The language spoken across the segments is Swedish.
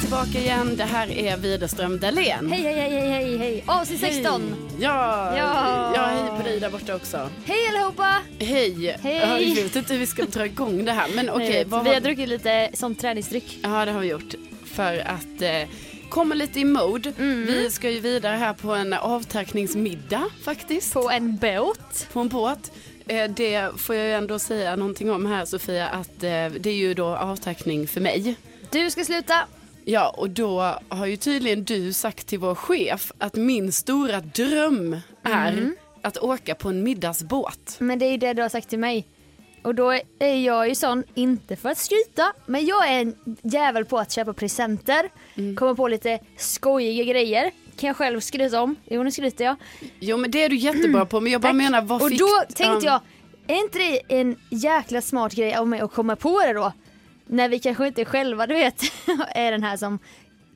tillbaka igen. Det här är Widerström Dahlén. Hej, hej, hej, hej, hej, hej. Avsnitt 16. Ja, ja. Ja. hej på dig där borta också. Hej allihopa! Hej. Hej. Ja, Jag vet inte hur vi ska dra igång det här. Men okej, Nej, vad vi var- har druckit lite som träningsdryck. Ja, det har vi gjort. För att eh, komma lite i mode. Mm. Vi ska ju vidare här på en avtackningsmiddag faktiskt. På en båt. På en båt. Eh, det får jag ju ändå säga någonting om här Sofia. Att eh, det är ju då avtackning för mig. Du ska sluta. Ja, och då har ju tydligen du sagt till vår chef att min stora dröm är Mm. att åka på en middagsbåt. Men det är ju det du har sagt till mig. Och då är jag ju sån, inte för att skryta, men jag är en jävel på att köpa presenter. Komma på lite skojiga grejer. Kan jag själv skryta om. Jo, nu skryter jag. Jo, men det är du jättebra på, men jag bara Tack. menar vad Och fick... då tänkte Ja, jag, är inte det en jäkla smart grej av mig att komma på det då? När vi kanske inte själva, du vet, är den här som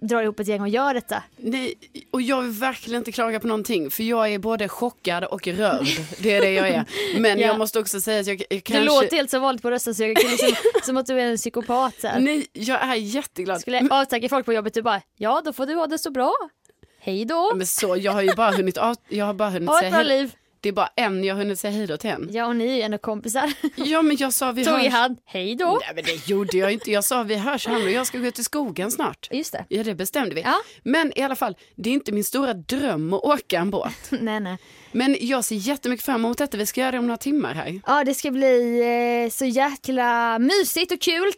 drar ihop ett gäng och gör detta. Nej, och jag vill verkligen inte klaga på någonting, för jag är både chockad och rörd. Det är det jag är. Men Ja. jag måste också säga att jag, jag Du kanske... låter helt så vanligt på rösten så jag kan liksom, som att du är en psykopat. Så här. Nej, jag är jätteglad. Skulle jag avtacka folk på jobbet, du bara, ja då får du ha det så bra. Hej då. Men så, jag har ju bara hunnit, av... jag har bara hunnit Ha säga ett bra hej. liv. Det är bara en jag har hunnit säga hej då till än. Ja och ni är ju ändå kompisar. Ja, men jag sa vi Tog i hörs. hand, hej då. Nej men det gjorde jag inte. Jag sa vi hörs han och jag ska gå ut i skogen snart. Just det. Ja det bestämde vi. Ja. Men i alla fall, det är inte min stora dröm att åka en båt. Nej nej. Men jag ser jättemycket fram emot detta. Vi ska göra det om några timmar här. Ja det ska bli eh, så jäkla mysigt och kul.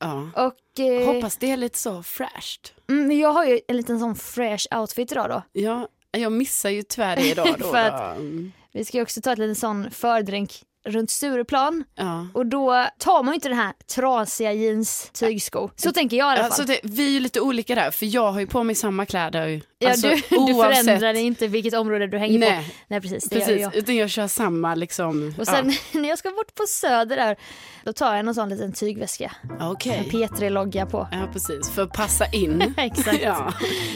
Ja. Och, eh, Hoppas det är lite så fräscht. Mm, men jag har ju en liten sån fresh outfit idag då. Ja, jag missar ju tyvärr det idag då. För att- då. Mm. Vi ska ju också ta ett litet sån fördrink runt Stureplan Ja. och då tar man ju inte den här trasiga jeans tygsko. Så tänker jag i alla fall. Alltså det, vi är ju lite olika där, för jag har ju på mig samma kläder. ja, alltså, du, du förändrar inte vilket område du hänger på. Nej, Nej precis, det gör precis. jag. Utan jag kör samma liksom. Och sen när jag ska bort på Söder där, då tar jag någon sån liten tygväska. ja. Okej. En P3-logga på. Ja, alltså, precis. För att passa in. Exakt. Ja.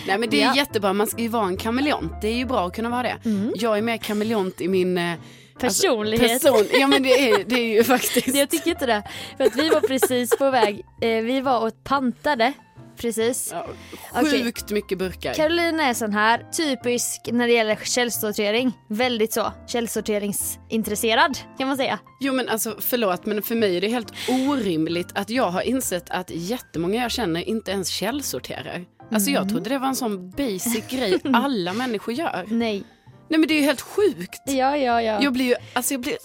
Nej, men det är Ja. Mm. jättebra. Man ska ju vara en kameleont. Det är ju bra att kunna vara det. Jag är mer kameleont i min eh, Personlighet. person. Ja, men det är, det är ju faktiskt. Jag tycker inte det. För att vi var precis på väg, eh, vi var och pantade precis. Ja, Okej. sjukt mycket burkar. Caroline är sån här, typisk när det gäller källsortering. Väldigt så, källsorteringsintresserad kan man säga. Jo, men alltså förlåt, men för mig är det helt orimligt att jag har insett att jättemånga jag känner inte ens källsorterar. Alltså Mm. jag trodde det var en sån basic grej alla människor gör. Nej. Nej men det är ju helt sjukt. Ja, ja, ja. Jag blir ju, alltså jag blir,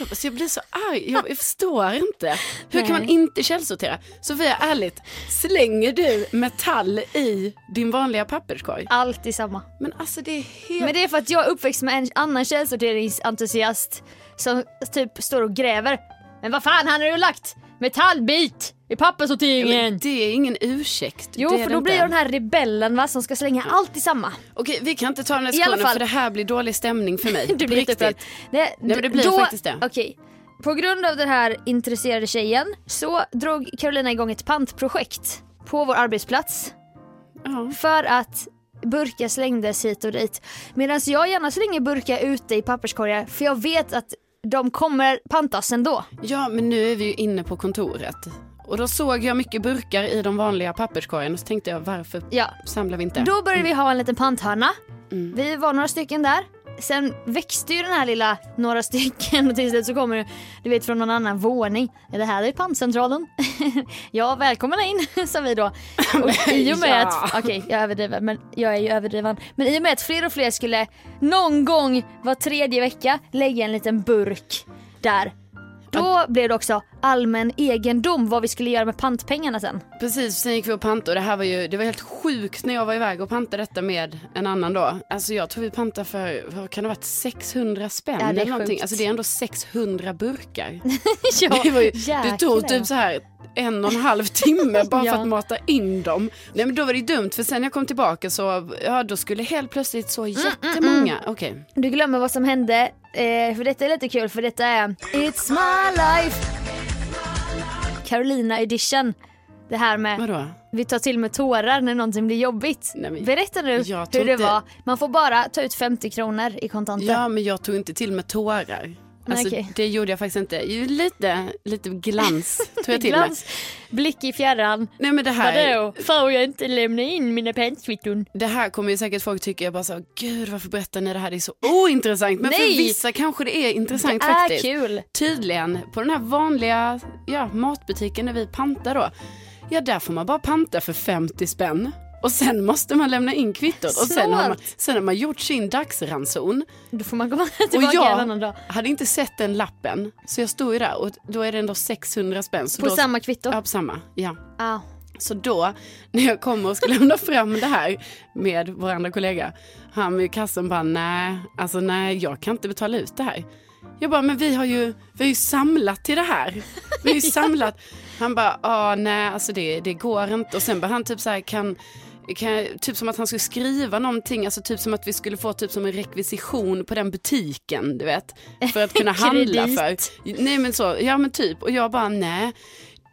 alltså jag blir så arg, jag, jag förstår inte. Hur kan Nej. man inte källsortera? Sofia, ärligt, slänger du metall i din vanliga papperskorg? Allt i samma. Men alltså det är helt... Men det är för att jag är uppväxt med en annan källsorteringsentusiast som typ står och gräver. Men vad fan, han har ju lagt metallbit i Men papperssorteringen. det är ingen ursäkt. Jo, det är för det då inte. blir jag den här rebellen va, som ska slänga allt i samma. Okej, vi kan inte ta den här I alla diskussionen fall. för det här blir dålig stämning för mig. Du blir På riktigt. jätteupprörd. Nej, men d- det blir då, faktiskt det. Okej. På grund av den här intresserade tjejen så drog Carolina igång ett pantprojekt på vår arbetsplats Ja. för att burkar slängdes hit och dit. Medan jag gärna slänger burkar ute i papperskorgar för jag vet att de kommer pantas ändå. ja, men nu är vi ju inne på kontoret. Och då såg jag mycket burkar i de vanliga papperskorgen och så tänkte jag varför Ja. samlar vi inte? Då började vi ha en liten panthörna. Vi var några stycken där. Sen växte ju den här lilla några stycken och till slut så kommer det, du vet från någon annan våning. Ja, det här är pantcentralen. ja, välkomna in, sa vi då. Och i och med ja. att, okej jag överdriver, men jag är ju överdriven. Men i och med att fler och fler skulle någon gång var tredje vecka lägga en liten burk där. Då blev det också allmän egendom vad vi skulle göra med pantpengarna sen. Precis, sen gick vi och pantade och det här var ju, det var helt sjukt när jag var iväg och pantade detta med en annan då. Alltså jag tror vi pantade för, vad kan det ha varit, 600 spänn Ja, det är eller någonting. sjukt. Alltså det är ändå 600 burkar. ja, det, var ju, det jäklar. tog typ så här en och en halv timme bara Ja. för att mata in dem. Nej men då var det ju dumt för sen när jag kom tillbaka så, ja då skulle helt plötsligt Mm, så jättemånga, okej. Du glömmer vad som hände, eh, för detta är lite kul för detta är It's my life Carolina edition. Det här med Vadå? vi tar till med tårar när någonting blir jobbigt. Nej, men- Berätta nu Jag hur tror det inte- var. Man får bara ta ut 50 kronor i kontanter. Ja men jag tog inte till med tårar. Nej, Alltså, okej. Det gjorde jag faktiskt inte. Ju Lite, lite glans tog jag till mig. Glans, blick i fjärran. Nej, men det, här, Vadå, får jag inte lämna in mina penskvitton? det här kommer ju säkert folk tycka, jag bara så, gud varför berättar ni det här, det är så ointressant. Men Nej! för vissa kanske det är intressant Är faktiskt. Ah, kul. Tydligen, på den här vanliga ja, matbutiken när vi pantar då, ja där får man bara panta för 50 spänn. Och sen måste man lämna in kvittot och sen har, man, sen har man gjort sin dagsranson. Då får man komma Och tillbaka en annan dag. jag hade inte sett den lappen så jag stod ju där och då är det ändå 600 spänn. Så På då, samma kvitto? Ja, på samma. Ja. Ah. Så då, när jag kommer och ska lämna fram det här med vår andra kollega, han vid kassan bara nej, alltså nej, jag kan inte betala ut det här. Jag bara, men vi har ju, vi har ju samlat till det här. Vi har ju samlat. Han bara, ah, nej, alltså det, det går inte. Och sen bara han typ så här, kan, kan, jag- typ som att han skulle skriva någonting, alltså typ som att vi skulle få typ som en rekvisition på den butiken, du vet. För att kunna handla för. Kredit. Nej men så, ja men typ. Och jag bara, nej.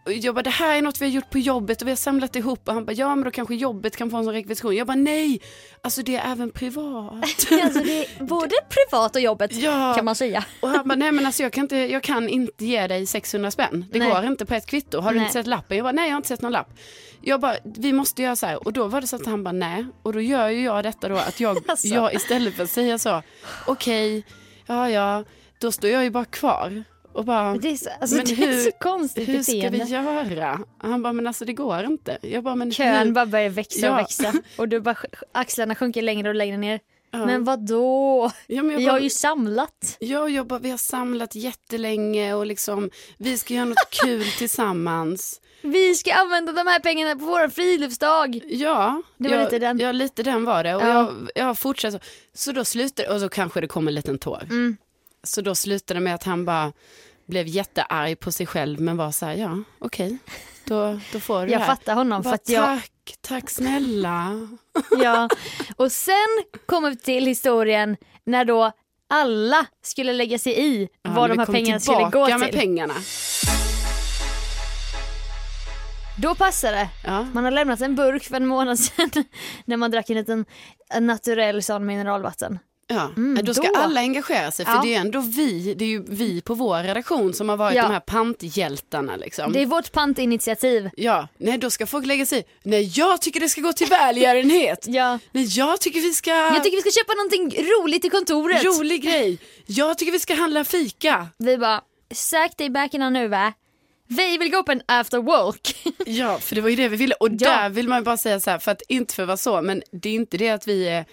Och jag bara, det här är något vi har gjort på jobbet och vi har samlat ihop och han bara, ja men då kanske jobbet kan få en sån rekvisition. Jag bara, nej, alltså det är även privat. Alltså det är både privat och jobbet Ja. kan man säga. Och han bara, nej men alltså jag kan inte, jag kan inte ge dig 600 spänn. Det Nej. går inte på ett kvitto. Har du Nej. inte sett lappen? Jag bara, nej jag har inte sett någon lapp. Jag bara, vi måste göra så här. Och då var det så att han bara, nej. Och då gör ju jag detta då att jag, Alltså. jag istället för att säga så, okej, ja ja, då står jag ju bara kvar. Och bara, Det är så, alltså, Men det är hur- så konstigt hur ska vi beteende. göra? Han bara, men alltså det går inte. Jag bara, men Kön hur? bara börjar växa och Ja. växa och du bara, axlarna sjunker längre och längre ner. Ja. Men vad då? ja, men jag Jag bara, har ju samlat. Jag och Jobba, vi har samlat jättelänge och liksom, vi ska göra något kul tillsammans. Vi ska använda de här pengarna på vår friluftsdag. Ja, Det var jag, lite den. Ja, lite den var det. Och Ja. jag, jag fortsätter. så. Så då slutar och så kanske det kom en liten tår. Mm. Så då slutade det med att han bara blev jättearg på sig själv men var så här, ja, okej, då, då får du det Jag här. fattar honom för Bara, att jag, Tack, tack snälla. ja. Och sen kommer vi till historien när då alla skulle lägga sig i Ja, vad men de här kom pengarna skulle gå tillbaka till. med pengarna. Då passar det. Ja. Man har lämnat en burk för en månad sedan när man drack en liten en naturell sån mineralvatten. Ja, Mm, då ska då. alla engagera sig för Ja. det är ju ändå vi, det är ju vi på vår redaktion som har varit Ja. de här panthjältarna liksom. Det är vårt pantinitiativ. Ja, nej då ska folk lägga sig i. Nej jag tycker det ska gå till välgörenhet. Ja. Nej jag tycker vi ska, Jag tycker vi ska köpa någonting roligt i kontoret. rolig grej. Jag tycker vi ska handla fika. Vi bara, säk dig backarna nu va? Vi vill gå på en after work. Ja, för det var ju det vi ville. Och där vill man ju bara säga så här, för att inte för att vara så, men det är inte det att vi är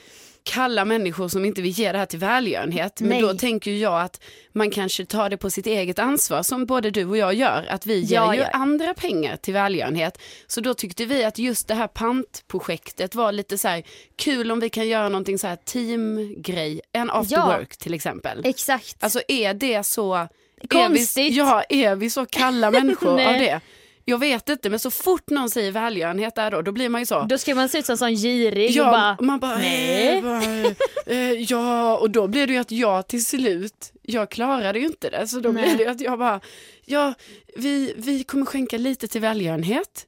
kalla människor som inte vill ge det här till välgörenhet. Men Nej. då tänker ju jag att man kanske tar det på sitt eget ansvar som både du och jag gör. Att vi ger Jag ju gör. andra pengar till välgörenhet. Så då tyckte vi att just det här pantprojektet var lite så här kul om vi kan göra någonting så här teamgrej. En after Ja. work till exempel. Exakt. Alltså är det så... Konstigt. Är vi, ja, är vi så kalla människor av Nej. det? Jag vet inte, men så fort någon säger välgörenhet där då, då blir man ju så. då ska man se ut som en sån girig och Ja, bara, och man bara, nej. eh, bara eh, ja, och då blir det ju att jag till slut, jag klarade ju inte det, så då Nej. blir det ju att jag bara, ja, vi, vi kommer skänka lite till välgörenhet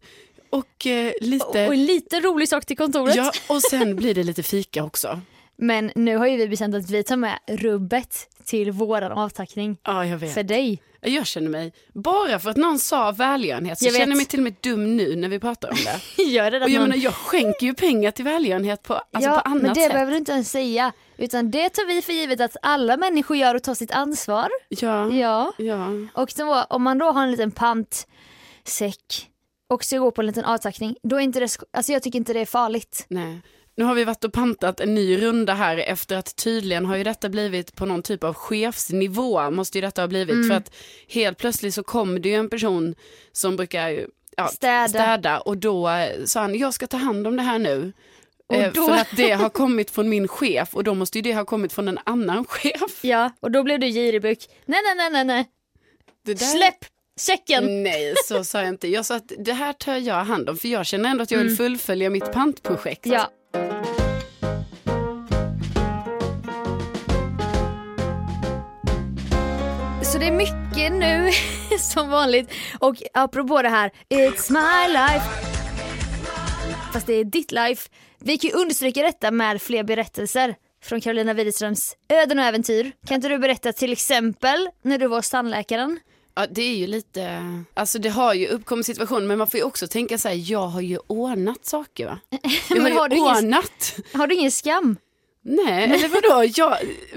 och eh, lite, och en lite rolig sak till kontoret. ja, och sen blir det lite fika också. Men nu har ju vi bestämt att vi tar med rubbet till våran avtackning. Ja, jag vet. För dig. Jag känner mig, bara för att någon sa välgörenhet så Jag vet. känner jag mig till och med dum nu när vi pratar om det. Gör det Och jag någon- menar jag skänker ju pengar till välgörenhet på, alltså på annat men det sätt. behöver du inte ens säga. Utan det tar vi för givet att alla människor gör och tar sitt ansvar. Ja, ja. Ja. ja. Och då, om man då har en liten pantsäck och ska gå på en liten avtackning, då är inte det, sk- alltså jag tycker inte det är farligt. Nej. Nu har vi varit och pantat en ny runda här efter att tydligen har ju detta blivit på någon typ av chefsnivå måste ju detta ha blivit Mm. för att helt plötsligt så kom det ju en person som brukar ju, ja, Städa. städa och då eh, sa han jag ska ta hand om det här nu. Och Eh, då- För att det har kommit från min chef och då måste ju det ha kommit från en annan chef. Ja, och då blev du giribuk. Nej, nej, nej, nej, nej. Det där- Släpp säcken! Nej, så sa jag inte. Jag sa att det här tar jag hand om för jag känner ändå att jag vill fullfölja mitt pantprojekt. Mm. Ja. Så det är mycket nu som vanligt. Och apropå det här, it's my life. Fast det är ditt life. Vi kan ju understryka detta med fler berättelser. från Carolina Widerströms Öden och äventyr. Kan inte du berätta till exempel när du var hos tandläkaren? Ja, det är ju lite, alltså det har ju uppkommit situationer men man får ju också tänka så här, jag har ju ordnat saker va? Jag har Men ju har du ingen- ordnat. Har du ingen skam? Nej, eller vadå? Jag...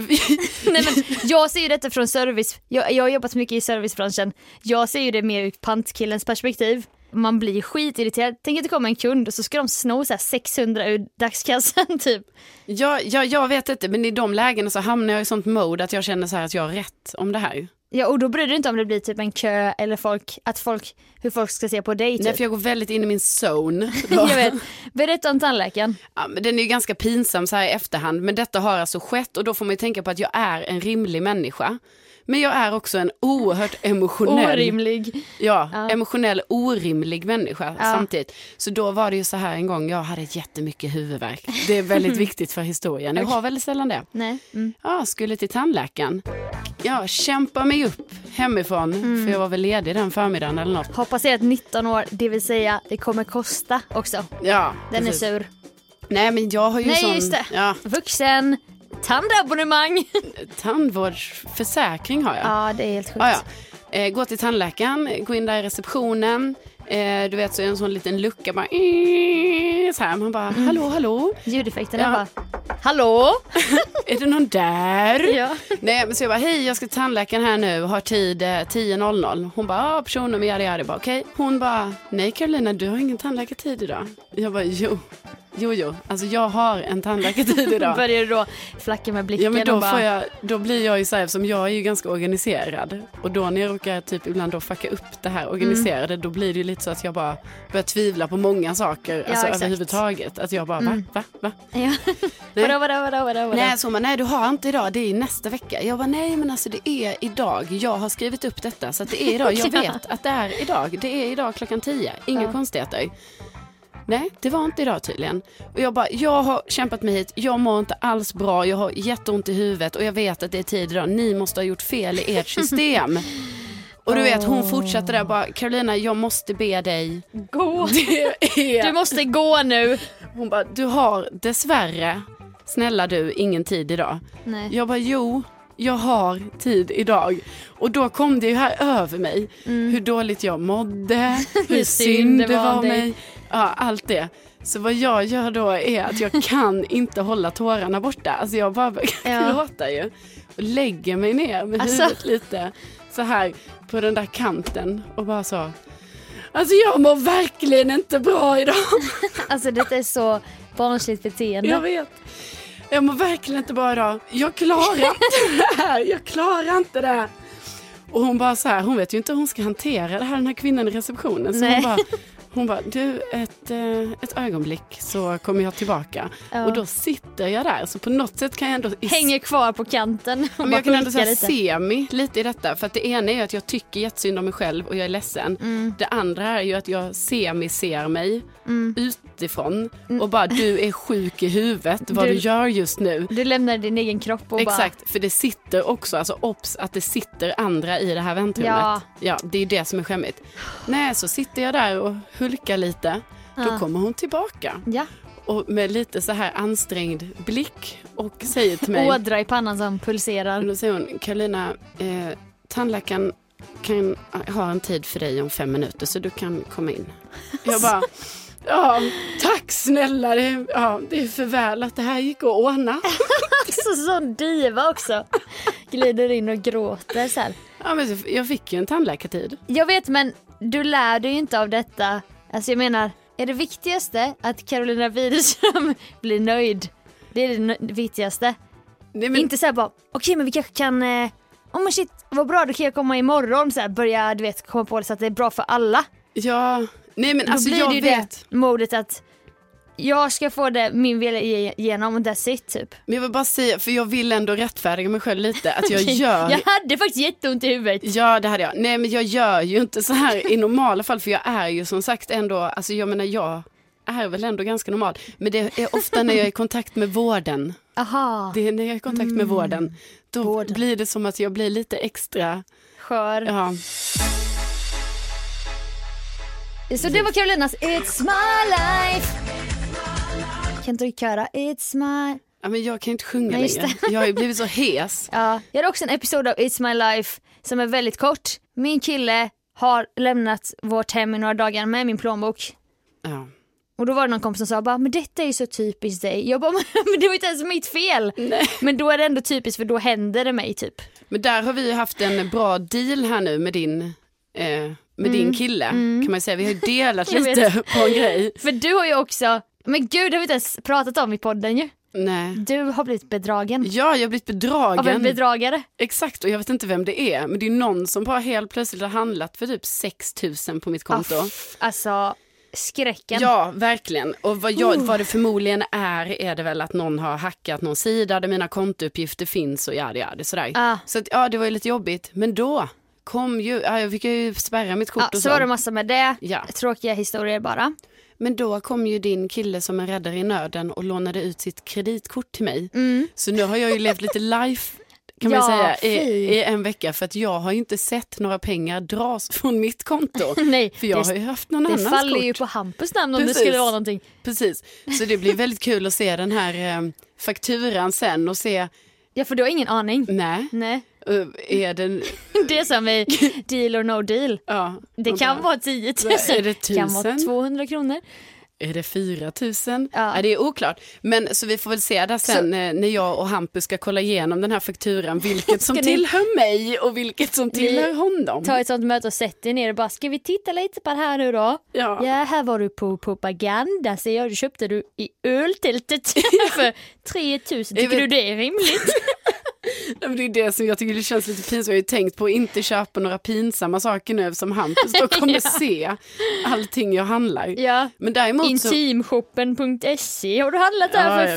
Nej, men jag ser ju detta från service, jag, jag har jobbat mycket i servicebranschen. Jag ser ju det mer ur pantkillens perspektiv. Man blir skitirriterad. Tänk att det kommer en kund och så ska de sno så här 600 ur dagskassan typ. Jag, jag, jag vet inte, men i de lägena så hamnar jag i sånt mode att jag känner så här att jag har rätt om det här. Ja och då bryr du dig inte om det blir typ en kö eller folk, att folk, hur folk ska se på dig typ. Nej, för jag går väldigt in i min zone. jag vet. Berätta om tandläkaren. Ja, men den är ju ganska pinsam så här i efterhand, men detta har alltså skett och då får man ju tänka på att jag är en rimlig människa. Men jag är också en oerhört emotionell, Orimlig. ja, emotionell orimlig människa samtidigt. Så då var det ju så här en gång, jag hade jättemycket huvudvärk. Det är väldigt viktigt för historien, jag har väldigt sällan det. Nej. Mm. Ja, skulle till tandläkaren. Ja, kämpa mig upp hemifrån, för jag var väl ledig den förmiddagen eller något. Har passerat 19 år, det vill säga det kommer kosta också. Ja, Den precis. är sur. Nej, men jag har ju Nej sån... just det. Ja, Vuxen. Tandabonnemang. tandvårdsförsäkring har jag. Ja det är helt sjukt. Ah, ja. eh, gå till tandläkaren, gå in där i receptionen. Eh, du vet så är det en sån liten lucka bara. Så här, man Mm. bara hallå hallå, Ljudeffekterna Ja. bara. Hallå? är det någon där? Ja. Nej men så jag bara hej jag ska till tandläkaren här nu, har tid eh, 10.00. Hon bara ja personnummer yada yada, Jag bara okej. Hon bara nej Carolina du har ingen tandläkartid idag. Jag bara jo, jo jo, alltså jag har en tandläkartid idag. Börjar du då flacka med blicken Ja men då, och bara. får jag, då blir jag ju så här, eftersom jag är ju ganska organiserad och då när jag råkar typ ibland då fucka upp det här Mm. organiserade då blir det ju lite så att jag bara börjar tvivla på många saker, alltså exakt. Mm. överhuvudtaget. Att jag bara va, va, va? Ja. vadå, vadå, vadå, vadå, vadå? Nej, så man, nej du har inte idag, det är nästa vecka. Jag bara nej men alltså det är idag, jag har skrivit upp detta så att det är idag, jag Ja. vet att det är idag, det är idag klockan 10, inga konstigheter. Nej, det var inte idag tydligen. Och jag bara, jag har kämpat mig hit, jag mår inte alls bra, jag har jätteont i huvudet och jag vet att det är tid idag, ni måste ha gjort fel i ert system. Och du vet hon fortsatte där bara, Carolina jag måste be dig. Gå. Det är Du måste gå nu. hon bara, du har dessvärre, snälla du, ingen tid idag. Nej. Jag bara, jo, jag har tid idag. Och då kom det ju här över mig, Mm. hur dåligt jag mådde, hur synd det var om dig. mig, ja, allt det. Så vad jag gör då är att jag kan inte hålla tårarna borta, alltså jag bara börjar Ja. gråta ju. Och lägger mig ner med Alltså. huvudet lite så här på den där kanten och bara så. Alltså jag mår verkligen inte bra idag. Alltså detta är så barnsligt beteende. Jag vet. Jag mår verkligen inte bra idag. Jag klarar inte det här. Jag klarar inte det här. Och hon bara så här, hon vet ju inte hur hon ska hantera det här, den här kvinnan i receptionen. Så Nej. hon bara, hon bara, du ett, eh, ett ögonblick så kommer jag tillbaka. Ja. Och då sitter jag där, så på något sätt kan jag ändå... i- Hänger kvar på kanten och Ja, men bara jag kan ändå blickar säga lite. semi lite i detta. För att det ena är ju att jag tycker jättesynd om mig själv och jag är ledsen. Mm. Det andra är ju att jag semi-ser mig utifrån och bara du är sjuk i huvudet vad Mm. Du- du, gör just nu. Du lämnar din egen kropp och bara... Exakt, för det sitter också, alltså obs att det sitter andra i det här väntrummet. Ja. Ja. det är ju det som är skämmigt. Nej, så sitter jag där och hulkar lite. Då kommer hon tillbaka Ja, och med lite så här ansträngd blick och säger till mig. ådra i pannan som pulserar. Och Då Alltså, säger hon, Karolina, eh, tandläkaren kan ha en tid för dig om fem minuter så du kan komma in. Jag bara, ja, tack snälla, det är, ja, det är för väl att det här gick att ordna. Så, sån diva också. Glider in och gråter så här. Ja, men så- jag fick ju en tandläkartid. Jag vet men du lär dig ju inte av detta. Alltså jag menar, är det viktigaste att Carolina Widerström blir nöjd? Det är det nö- viktigaste. Nej, men, Inte såhär bara, okej men vi kanske kan, eh, oh men shit vad bra då kan jag komma imorgon så här, börja du vet komma på det så att det är bra för alla. ja, nej men Då alltså blir det ju jag vet. det modet att jag ska få det min vilja ige- igenom och that's it typ. Men jag vill bara säga, för jag vill ändå rättfärdiga mig själv lite, att jag gör Jag hade faktiskt jätteont i huvudet. Ja det hade jag. Nej men jag gör ju inte så här i normala fall för jag är ju som sagt ändå, alltså jag menar jag är väl ändå ganska normal. Men det är ofta när jag är i kontakt med vården, Aha, det är när jag är i kontakt Mm. med vården, då blir det som att jag blir lite extra, skör. ja. Så det var Carolinas It's my life. Kan inte du köra It's my Ja, men jag kan ju inte sjunga Nej, just längre. Jag har ju blivit så hes. Ja, jag hade också en episod av It's My Life som är väldigt kort. Min kille har lämnat vårt hem i några dagar med min plånbok. Ja. Och då var det någon kompis som sa bara, men detta är ju så typiskt dig. Jag bara, men det var inte ens mitt fel. Nej. Men då är det ändå typiskt för då händer det mig typ. Men där har vi ju haft en bra deal här nu med din, eh, med din kille. Kan man ju säga. Vi har ju delat Mm. Jag vet. lite på en grej. För du har ju också, men gud det har vi inte ens pratat om i podden ju. Nej. Du har blivit bedragen Ja, jag har blivit bedragen. av en bedragare. Exakt, och jag vet inte vem det är. Men det är någon som bara helt plötsligt har handlat för typ 6 000 på mitt konto. Ah, f- Alltså skräcken. Ja, verkligen. Och vad, Oh. jag, vad det förmodligen är, är det väl att någon har hackat någon sida där mina kontouppgifter finns och ja, det är det sådär. Ah. Så att, ja, det var ju lite jobbigt. Men då kom ju, ja, jag fick ju spärra mitt kort Ja, och så så. var det massa med det. Ja. Tråkiga historier bara. Men då kom ju din kille som en räddare i nöden och lånade ut sitt kreditkort till mig. Så nu har jag ju levt lite life kan man Mm. Ja, säga, i, fy. i en vecka för att jag har ju inte sett några pengar dras från mitt konto. Nej, för jag det- har ju haft någon Det annans faller kort. ju på Hampus namn om Precis. det skulle vara någonting. Precis, så det blir väldigt kul att se den här eh, fakturan sen och se, Ja för du har ingen aning. nej, Nej, eh, är den, det är som i deal or no deal. ja, Det och kan bara, vara 10 000, Är det det kan vara 1000? 200 kronor. Är det 4000? Ja. Ja. Det är oklart. Men så vi får väl se där sen eh, när jag och Hampus ska kolla igenom den här fakturan, vilket som ni- tillhör mig och vilket som tillhör honom. Ta ett sånt möte och sätt dig ner och bara ska vi titta lite på det här nu då? Ja. Ja, här var du på propaganda ser jag, det köpte du i öltältet för 3000. Jag Tycker vet- du det är rimligt? Ja, men Det är det som jag tycker det känns lite pinsamt. Jag har ju tänkt på att inte köpa några pinsamma saker nu eftersom Hampus då kommer se allting jag handlar. Ja. Men däremot så... Intimshoppen.se E. har du handlat där Alltså- Ja, ja,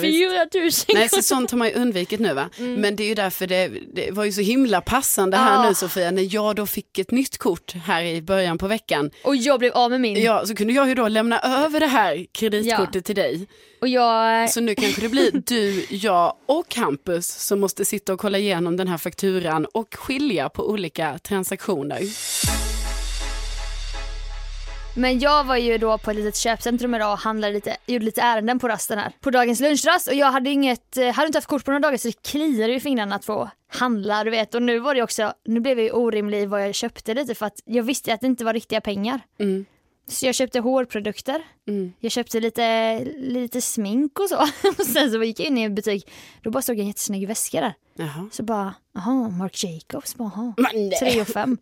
för visst. 4000 Nej, så sånt har man ju undvikit nu va. Mm. Men det är ju därför det, det var ju så himla passande här Ah. nu Sofia, när jag då fick ett nytt kort här i början på veckan. Och jag blev av med min. Ja, så kunde jag ju då lämna över det här kreditkortet Ja. till dig. Och jag... Så nu kanske det blir du, jag och Hampus som måste sitta och kolla igenom den här fakturan och skilja på olika transaktioner. Men jag var ju då på ett litet köpcentrum idag och handlade lite, gjorde lite ärenden på rasten här. På dagens lunchrast och jag hade inget, eh, hade inte haft kort på några dagar så det kliade i fingrarna att få handla du vet. Och nu var det också, nu blev jag ju orimlig i vad jag köpte lite för att jag visste att det inte var riktiga pengar. Mm. Så jag köpte hårprodukter, Mm. jag köpte lite, lite smink och så. och sen så gick jag in i en butik, då bara såg jag en jättesnygg väska där. Jaha. Så bara, jaha, Marc Jacobs, bara, jaha. Men nej. 3 och 5.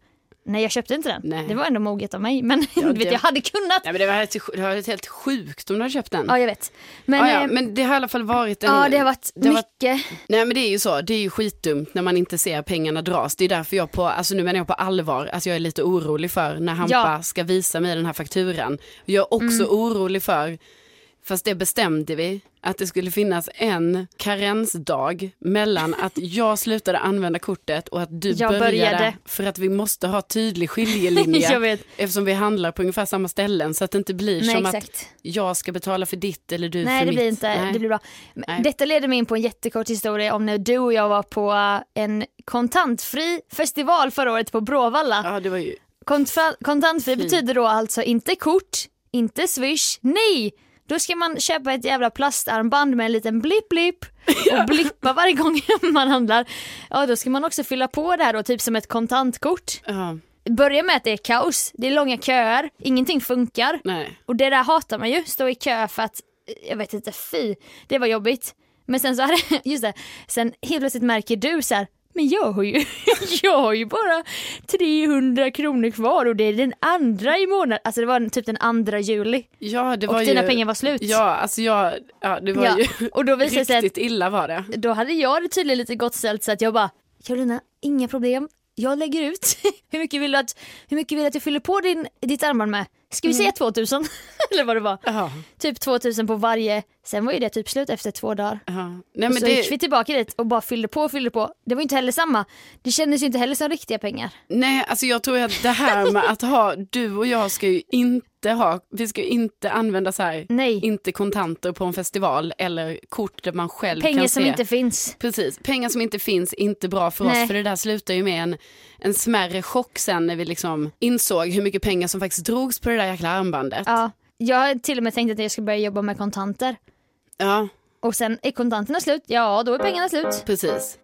Nej jag köpte inte den. Nej. Det var ändå moget av mig. Men Ja, du vet, det- jag hade kunnat. Nej, men det var helt, det var helt sjukt om du hade köpt den. Ja jag vet. Men, Men, ja, ja, eh, men det har i alla fall varit en... ja det har varit det har varit- mycket. Nej men det är ju så, det är ju skitdumt när man inte ser pengarna dras. Det är därför jag på, alltså nu menar jag på allvar, alltså jag är lite orolig för när Hampa Ja. Mm. ska visa mig den här fakturan. Jag är också orolig för, fast det bestämde vi, att det skulle finnas en karensdag mellan att jag slutade använda kortet och att du Jag började, började. För att vi måste ha tydlig skiljelinje. Jag vet. Eftersom vi handlar på ungefär samma ställen så att det inte blir Nej som att exakt. jag ska betala för ditt eller du Nej för det mitt. blir inte, Nej. det blir bra. Men Nej. Detta leder mig in på en jättekort historia om när du och jag var på eh, en kontantfri festival förra året på Bråvalla. Ja det var ju, Kontfa- kontantfri betyder då alltså inte kort, inte swish, nej! Då ska man köpa ett jävla plastarmband med en liten blipp-blipp och blippa varje gång man handlar. Ja, då ska man också fylla på det här då, typ som ett kontantkort. ja, Börja med att det är kaos, det är långa köer, ingenting funkar. nej. Och det där hatar man ju, stå i kö för att, jag vet inte, fy, det var jobbigt. Men sen så hade, just det, sen helt plötsligt märker du så här, men jag har ju, jag har ju bara 300 kronor kvar och det är den andra i månaden, alltså det var typ den andra juli. Ja, det Och var dina ju... pengar var slut. Ja, alltså jag, ja det var Ja, ju och då visade det sig riktigt illa var det. Då hade jag det tydligen lite gott ställt så att jag bara, Carolina, inga problem, jag lägger ut. hur, mycket vill du att, hur mycket vill du att jag fyller på din, ditt armband med? Ska Mm. vi säga 2000? Eller vad det var. Ja, Typ 2000 på varje, sen var ju det typ slut efter två dagar. ja. Nej, men så det, gick vi tillbaka dit och bara fyllde på och fyllde på. Det var ju inte heller samma. Det kändes ju inte heller som riktiga pengar. nej, alltså jag tror att det här med att ha, du och jag ska ju inte ha, vi ska ju inte använda så här, Nej. inte kontanter på en festival eller kort där man själv Pengar kan som se. inte finns. Precis, pengar som inte finns, inte bra för Nej. oss för det där slutar ju med en, en smärre chock sen när vi liksom insåg hur mycket pengar som faktiskt drogs på det där jäkla armbandet. Ja. Jag har till och med tänkt att jag ska börja jobba med kontanter. Ja. Och sen är kontanterna slut, ja då är pengarna slut. Precis.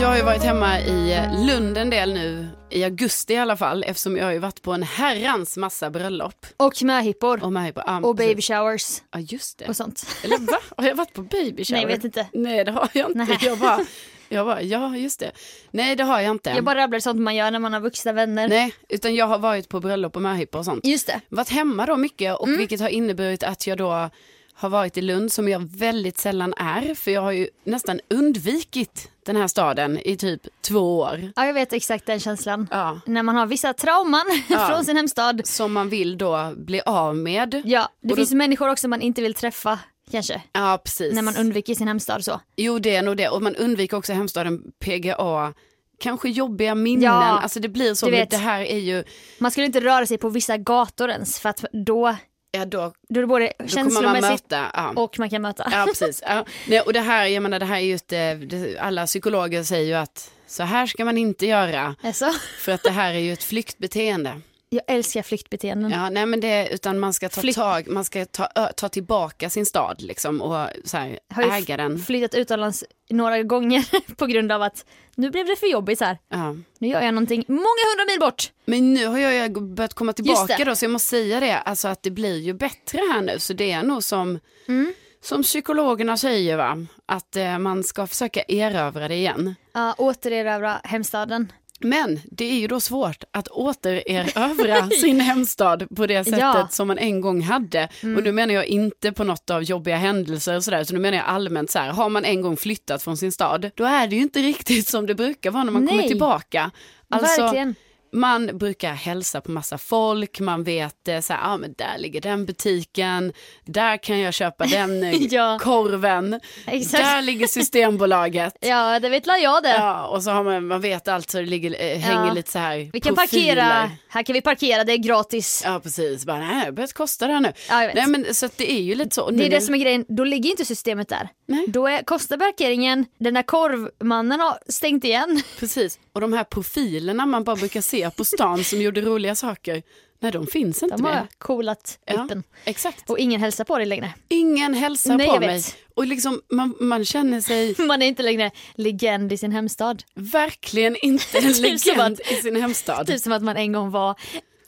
Jag har ju varit hemma i Lund en del nu, i augusti i alla fall, eftersom jag har ju varit på en herrans massa bröllop. Och möhippor. Och, mig på, ah, Och precis. baby showers Ja, just det. och sånt. Eller va? Har jag varit på baby shower? Nej, jag vet inte. Nej, det har jag inte. Nej. Jag bara, jag bara, ja just det. Nej, det har jag inte. Jag bara rabblar sånt man gör när man har vuxna vänner. Nej, utan jag har varit på bröllop och möhippa och sånt. Just det. Varit hemma då mycket Mm. och vilket har inneburit att jag då har varit i Lund som jag väldigt sällan är. För jag har ju nästan undvikit den här staden i typ två år. Ja, jag vet exakt den känslan. Ja. När man har vissa trauman från sin hemstad. Som man vill då bli av med. Ja, Och det då- finns människor också man inte vill träffa kanske. Ja, precis. När man undviker sin hemstad så. Jo, det är nog det. Och man undviker också hemstaden PGA. Kanske jobbiga minnen. Ja, alltså det blir så. du men vet. Det här är ju, Man skulle inte röra sig på vissa gator ens för att då, ja då, då är det både då kommer man känslomässigt möta. Ja. och man kan möta. Ja, precis. Ja. Nej, och det här, jag menar, det här är just det, det, alla psykologer säger ju att så här ska man inte göra, Alltså, för att det här är ju ett flyktbeteende. jag älskar flyktbeteenden. Ja, nej, men det, utan man ska ta Mm. Flykt- tag, man ska ta, ö, ta tillbaka sin stad liksom och så här, Har ju äga den. flyttat utomlands några gånger på grund av att nu blev det för jobbigt här. Ja. Nu gör jag någonting många hundra mil bort. Men nu har jag ju börjat komma Just tillbaka det. då, så jag måste säga det, alltså att det blir ju bättre här nu, så det är nog som, Mm. som psykologerna säger, va? att eh, man ska försöka erövra det igen. Ja, återerövra hemstaden. Men det är ju då svårt att återerövra sin hemstad på det sättet Ja. Mm. som man en gång hade. Och nu menar jag inte på något av jobbiga händelser och sådär, så nu menar jag allmänt så här, har man en gång flyttat från sin stad, då är det ju inte riktigt som det brukar vara när man kommer Nej. tillbaka. Alltså, Verkligen. Man brukar hälsa på massa folk, man vet eh, så här, ah, men där ligger den butiken, där kan jag köpa den eh, Ja. korven, Exakt. där ligger Systembolaget. Ja, det vet la jag det. Ja, och så har man, man vet allt så det ligger, eh, hänger Ja. lite så här vi kan profiler. parkera, här kan vi parkera, det är gratis. Ja, precis. Bara, nej, det har börjat kosta det här nu. Ja, jag vet. Nej, men så att det är ju lite så. Och nu- Det är det som är grejen, då ligger inte systemet där. Nej. Då är, kostar parkeringen, den där korvmannen har stängt igen. Precis, och de här profilerna man bara brukar se på stan som gjorde roliga saker, nej, de finns inte De har mer. coolat upp den. exakt. Och ingen hälsar på dig längre. Ingen hälsar Nej, på jag vet. mig. Och liksom, man, man känner sig Man är inte längre legend i sin hemstad. verkligen inte en Typ som legend i sin hemstad. Typ som att man en gång var,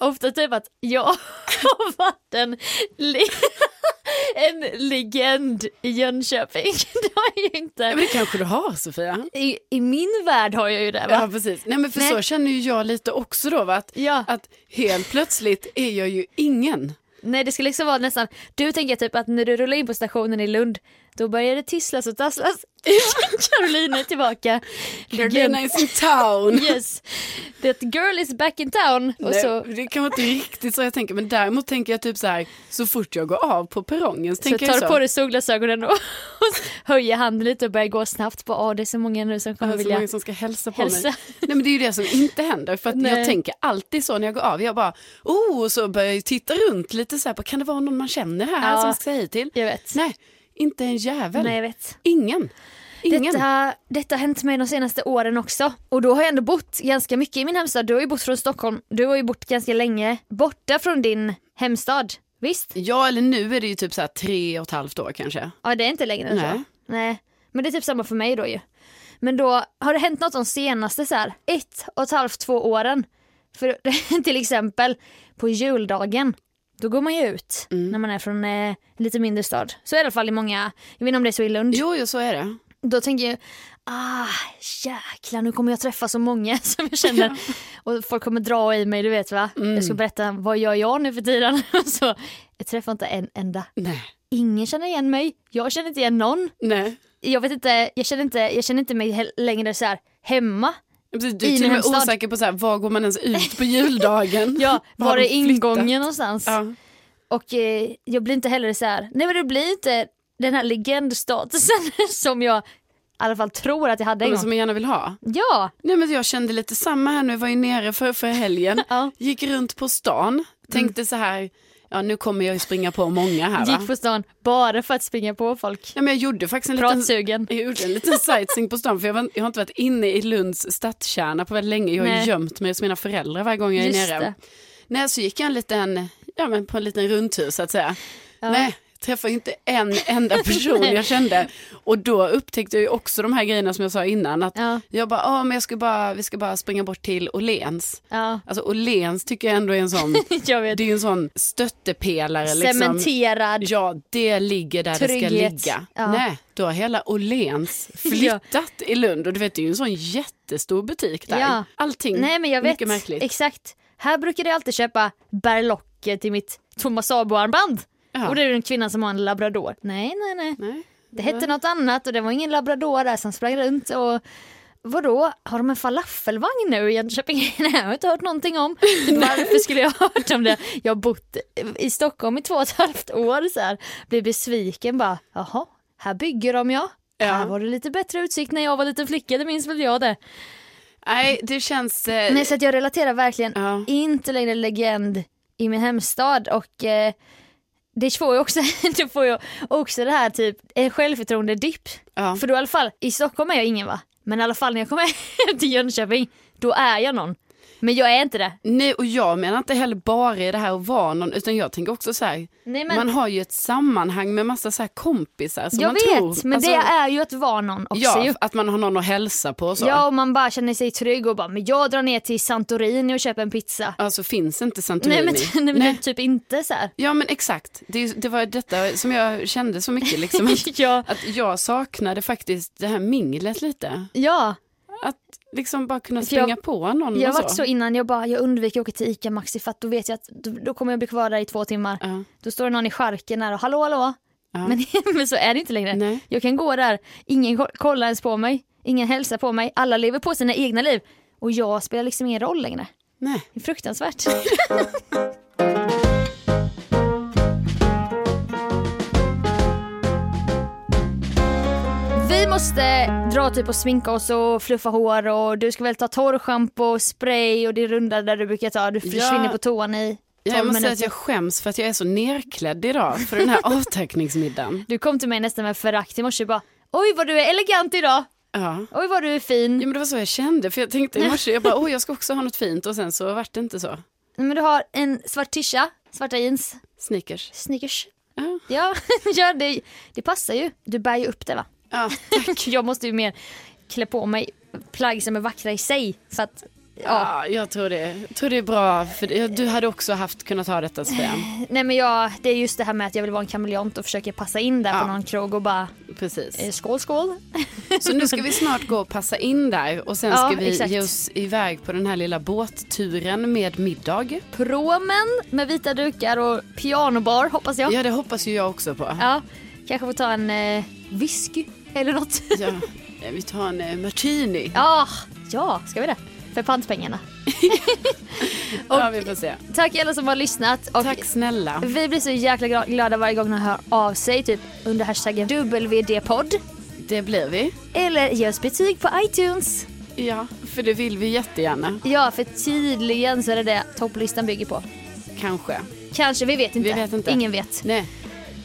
ofta typ att jag har varit en, le- en legend i Jönköping. Det har jag ju Ja, inte. men det kanske du har, Sofia. I, I min värld har jag ju det Ja, va? precis. Nej, men för Nej. så känner ju jag lite också då, va? Att, Ja. att helt plötsligt är jag ju ingen. Nej det ska liksom vara nästan, du tänker typ att när du rullar in på stationen i Lund då börjar det tisslas och tasslas. Caroline är tillbaka. Carolina is in town. Yes, that girl is back in town. Och Nej, så, det kan vara inte riktigt så jag tänker, men däremot tänker jag typ så här, så fort jag går av på perrongen så så tänker tar jag du så. på dig solglasögonen och höjer handen lite och börjar gå snabbt. Bara, "Åh, det är så många nu som kommer det är så vilja. många som ska hälsa på hälsa. mig. Nej men det är ju det som inte händer för att jag Nej. tänker alltid så när jag går av. Jag bara, oh, och så börjar jag ju titta runt lite så här på, kan det vara någon man känner här Ja. som ska hit till? Jag vet. Nej, inte en jävel. Nej, jag vet. Ingen. Ingen. Detta, detta har hänt mig de senaste åren också. Och då har jag ändå bott ganska mycket i min hemstad. Du har ju bott från Stockholm. Du har ju bott ganska länge borta från din hemstad. Visst? Ja eller nu är det ju typ så här tre och ett halvt år kanske. Ja, det är inte längre än Nej. så. Nej. Men det är typ samma för mig då ju. Men då har det hänt något de senaste så här, ett och ett halvt, två åren. För till exempel på juldagen, då går man ju ut Mm. när man är från eh, lite mindre stad. Så i alla fall i många, jag vet inte om det är så i Lund. Jo, jo så är det. Då tänker jag, ah jäklar nu kommer jag träffa så många som jag känner. Och folk kommer dra i mig, du vet va. Jag Mm. ska berätta, vad gör jag nu för tiden? Och så, jag träffar inte en enda. Nej. Ingen känner igen mig, jag känner inte igen någon. Nej. Jag vet inte, jag känner inte, jag känner inte mig he- längre så här hemma. Precis, du I är till min och med hemstad. osäker på så här, var går man ens ut på juldagen? Ja, var har är de flyttat? ingången någonstans? Ja. Och eh, jag blir inte heller så här, nej men det blir inte den här legendstatusen som jag i alla fall tror att jag hade en Men som gång. man gärna vill ha. Ja, Nej men jag kände lite samma här nu, jag var ju nere för, för helgen, Ja. Mm. gick runt på stan, tänkte så här, ja nu kommer jag ju springa på många här va? gick på stan bara för att springa på folk. Ja, men jag gjorde faktiskt en liten, Pratsugen. jag gjorde en liten sightseeing på stan för jag, var, jag har inte varit inne i Lunds stadskärna på väldigt länge, jag har ju Nej. gömt mig hos mina föräldrar varje gång jag är Just nere. det. Nej, så gick jag en liten, ja, men på en liten rundtur så att säga. Ja. Nej, träffade inte en enda person jag kände. Och då upptäckte jag ju också de här grejerna som jag sa innan. Att Ja. Jag bara, ah, men jag ska bara, vi ska bara springa bort till Åhléns. Ja, Alltså Åhléns tycker jag ändå är en sån, jag vet. det är ju en sån stöttepelare. Liksom. Cementerad. Ja, det ligger där det ska Trygghet. ligga. Ja. Nej, då har hela Åhléns flyttat i Lund och du vet det är ju en sån jättestor butik där. Ja. Allting, Nej men jag vet. mycket märkligt. Exakt. Här brukade jag alltid köpa berlocker till mitt Thomas Abo-armband. Ja. Och det är en kvinna som har en labrador. Nej, nej, nej. Nej. Det hette något annat och det var ingen labrador där som sprang runt och Vadå, har de en falafelvagn nu i Jönköping? Nej, jag har inte hört någonting om. Typ, Varför skulle jag ha hört om det? Jag har bott i Stockholm i två och ett halvt år så här. Blir besviken bara, jaha, här bygger de ja. Ja. Här var det lite bättre utsikt när jag var liten flicka, det minns väl jag det. Eh. Nej, det känns... Eh, Nej, så att jag relaterar verkligen Ja. inte längre legend i min hemstad och eh, det får ju också, det får ju också det här typ en självförtroende-dipp. Ja. För då i alla fall, i Stockholm är jag ingen va? Men i alla fall när jag kommer hem till Jönköping, då är jag någon. Men jag är inte det. Nej, och jag menar inte heller bara i det här att vara någon, utan jag tänker också så här, Nej, men- man har ju ett sammanhang med massa så här kompisar som jag man vet, tror. men Alltså, det är ju att vara någon också ju. Ja, att man har någon att hälsa på och så. Ja, och man bara känner sig trygg och bara, men jag drar ner till Santorini och köper en pizza. Alltså finns inte Santorini. Nej men, nej, men typ inte så här. Ja men exakt, det, är- det var detta som jag kände så mycket liksom. Att, Ja. att jag saknade faktiskt det här minglet lite. Ja, Att liksom bara kunna För jag- springa på någon jag och har varit så innan, jag bara, jag undviker att åka till ICA Maxi för att då vet jag att då, då kommer jag bli kvar där i två timmar. Ja. Då står det någon i charken där och hallå hallå. Men, men så är det inte längre. Nej. Jag kan gå där, ingen ko- kollar ens på mig, ingen hälsar på mig, alla lever på sina egna liv. Och jag spelar liksom ingen roll längre. Nej. Det är fruktansvärt. Vi måste dra typ och sminka oss och fluffa hår och du ska väl ta torrschampo och spray och det runda där du brukar ta. Du försvinner på toan i 12 Ja, jag måste minuter. säga att jag skäms för att jag är så nerklädd idag för den här avtackningsmiddagen. Du kom till mig nästan med förakt i morse och bara Oj vad du är elegant idag! Ja. Oj vad du är fin! Ja men det var så jag kände, för jag tänkte i morse, jag bara, åh jag ska också ha något fint och sen så vart det inte så. Men du har en svart tisha, svarta jeans, Sneakers. sneakers. Ja, Ja, ja det, det passar ju. Du bär ju upp det va? ja. Jag måste ju mer klä på mig plagg som är vackra i sig. För att, ja. ja jag tror det, tror det är bra, för det- du hade också haft kunnat ha detta Sofia. Nej men jag, det är just det här med att jag vill vara en kameleont och försöka passa in där Ja. på någon krog och bara eh, Precis. skål skål. Så nu ska vi snart gå och passa in där och sen ska Ja, vi exakt. ge oss iväg på den här lilla båtturen med middag. Promen med vita dukar och pianobar hoppas jag. Ja, Ja det hoppas ju jag också på. kanske får ta en eh, whisky eller något. Ja. Ja. Eh, Vi tar en eh, martini. ja, ska vi det? För pantpengarna. Ja vi får se. Tack alla som har lyssnat. Och Tack snälla. Vi blir så jäkla gra- glada varje gång ni hör av sig, typ under hashtaggen WD-podd. Det blir vi. Eller ge oss betyg på iTunes. Ja, för det vill vi jättegärna. Ja, för tydligen så är det det topplistan bygger på. Kanske. Kanske, vi vet inte. Vi vet inte. Ingen vet. Nej.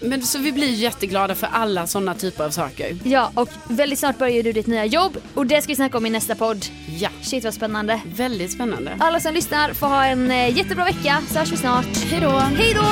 Men så vi blir jätteglada för alla sådana typer av saker. Ja, och väldigt snart börjar ju du ditt nya jobb och det ska vi snacka om i nästa podd. Ja, Shit vad spännande. väldigt spännande. Alla som lyssnar får ha en eh, jättebra vecka så hörs vi snart. Hej då! Hej då!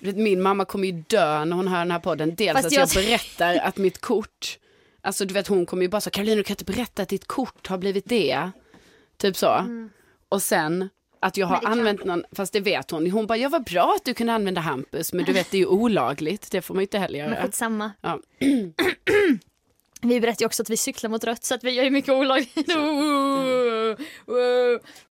Du vet, Min mamma kommer ju dö när hon hör den här podden. Dels Fast att jag... jag- berättar att mitt kort, alltså du vet hon kommer ju bara så, Caroline du kan inte berätta att ditt kort har blivit det. Typ så. Och sen att jag har använt någon, fast det vet hon, hon bara, ja vad bra att du kunde använda Hampus, men du vet det är ju olagligt, det får man ju inte heller Men göra. skitsamma. Ja. Vi berättar ju också att vi cyklar mot rött så att vi gör ju mycket olagligt.